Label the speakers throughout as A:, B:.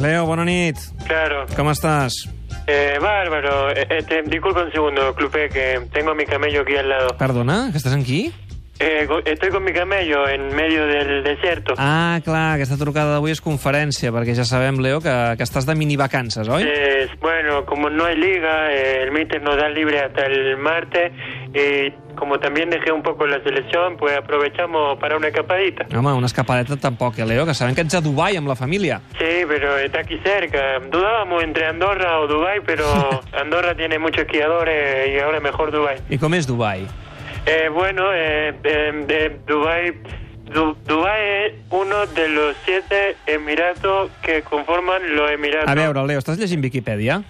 A: Leo, bona nit.
B: Claro.
A: Com estàs?
B: Eh, bárbaro. Eh, este, disculpa un segundo, Clupe, que tengo a mi camello aquí al lado.
A: Perdona, que estàs aquí?
B: Eh, co- estoy con mi camello en medio del desierto.
A: Ah, clar, aquesta trucada d'avui és conferència, perquè ja sabem, Leo, que, que estàs de minivacances, oi?
B: Eh, bueno, como no hay liga, eh, el míster nos da libre hasta el martes y como también dejé un poco la selección, pues aprovechamos para una escapadita.
A: Home, una escapadeta tampoc, eh, Leo, que sabem que ets a Dubai amb la família.
B: Sí, pero está aquí cerca. Dudábamos entre Andorra o Dubái, pero Andorra tiene muchos esquiadores y ahora mejor Dubái.
A: I com és Dubai?
B: Eh, bueno, eh, eh, eh, Dubái Du- Dubái es uno de los siete emiratos que conforman los emiratos.
A: A veure, Leo, estàs llegint Viquipèdia?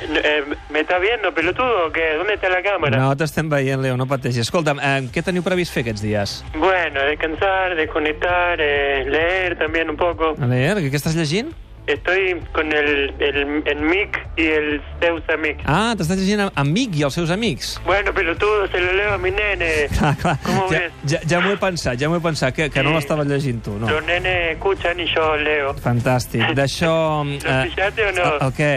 B: Eh, ¿Me está viendo, pelotudo? o ¿Qué? ¿Dónde está la cámara?
A: No t'estem veient, Leo, no pateixis. Escolta'm, eh, què teniu previst fer aquests dies?
B: Bueno, descansar, desconectar, eh, leer también un poco.
A: A veure, què estàs llegint?
B: Estoy con el, el, el Mick y el Seusa Mick.
A: Ah, t'estàs llegint amb- amb Mick i els seus amics.
B: Bueno, pelotudo, se lo leo a mi nene.
A: Clar, clar.
B: ¿Cómo
A: Ja,
B: ves?
A: ja, ja m'ho he pensat, ja m'ho he pensat, que, que no
B: Sí.
A: l'estaves llegint tu, no.
B: Los nenes escuchan y yo leo.
A: Fantàstic. D'això... eh,
B: fijaste o no?
A: El, el què?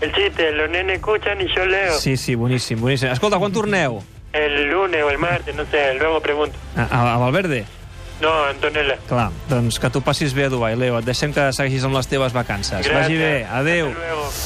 B: El chiste, los nenes escuchan y yo leo.
A: Ah, Sí, sí, boníssim, boníssim. Escolta, quan torneu?
B: El lunes o el martes, no sé, luego pregunto.
A: A, a, a Valverde?
B: No, Antonella.
A: Clar, doncs que tu passis bé a Dubai, Leo. Et deixem que segueixis amb les teves vacances.
B: Gràcies.
A: Vagi bé, adeu.
B: Hasta luego.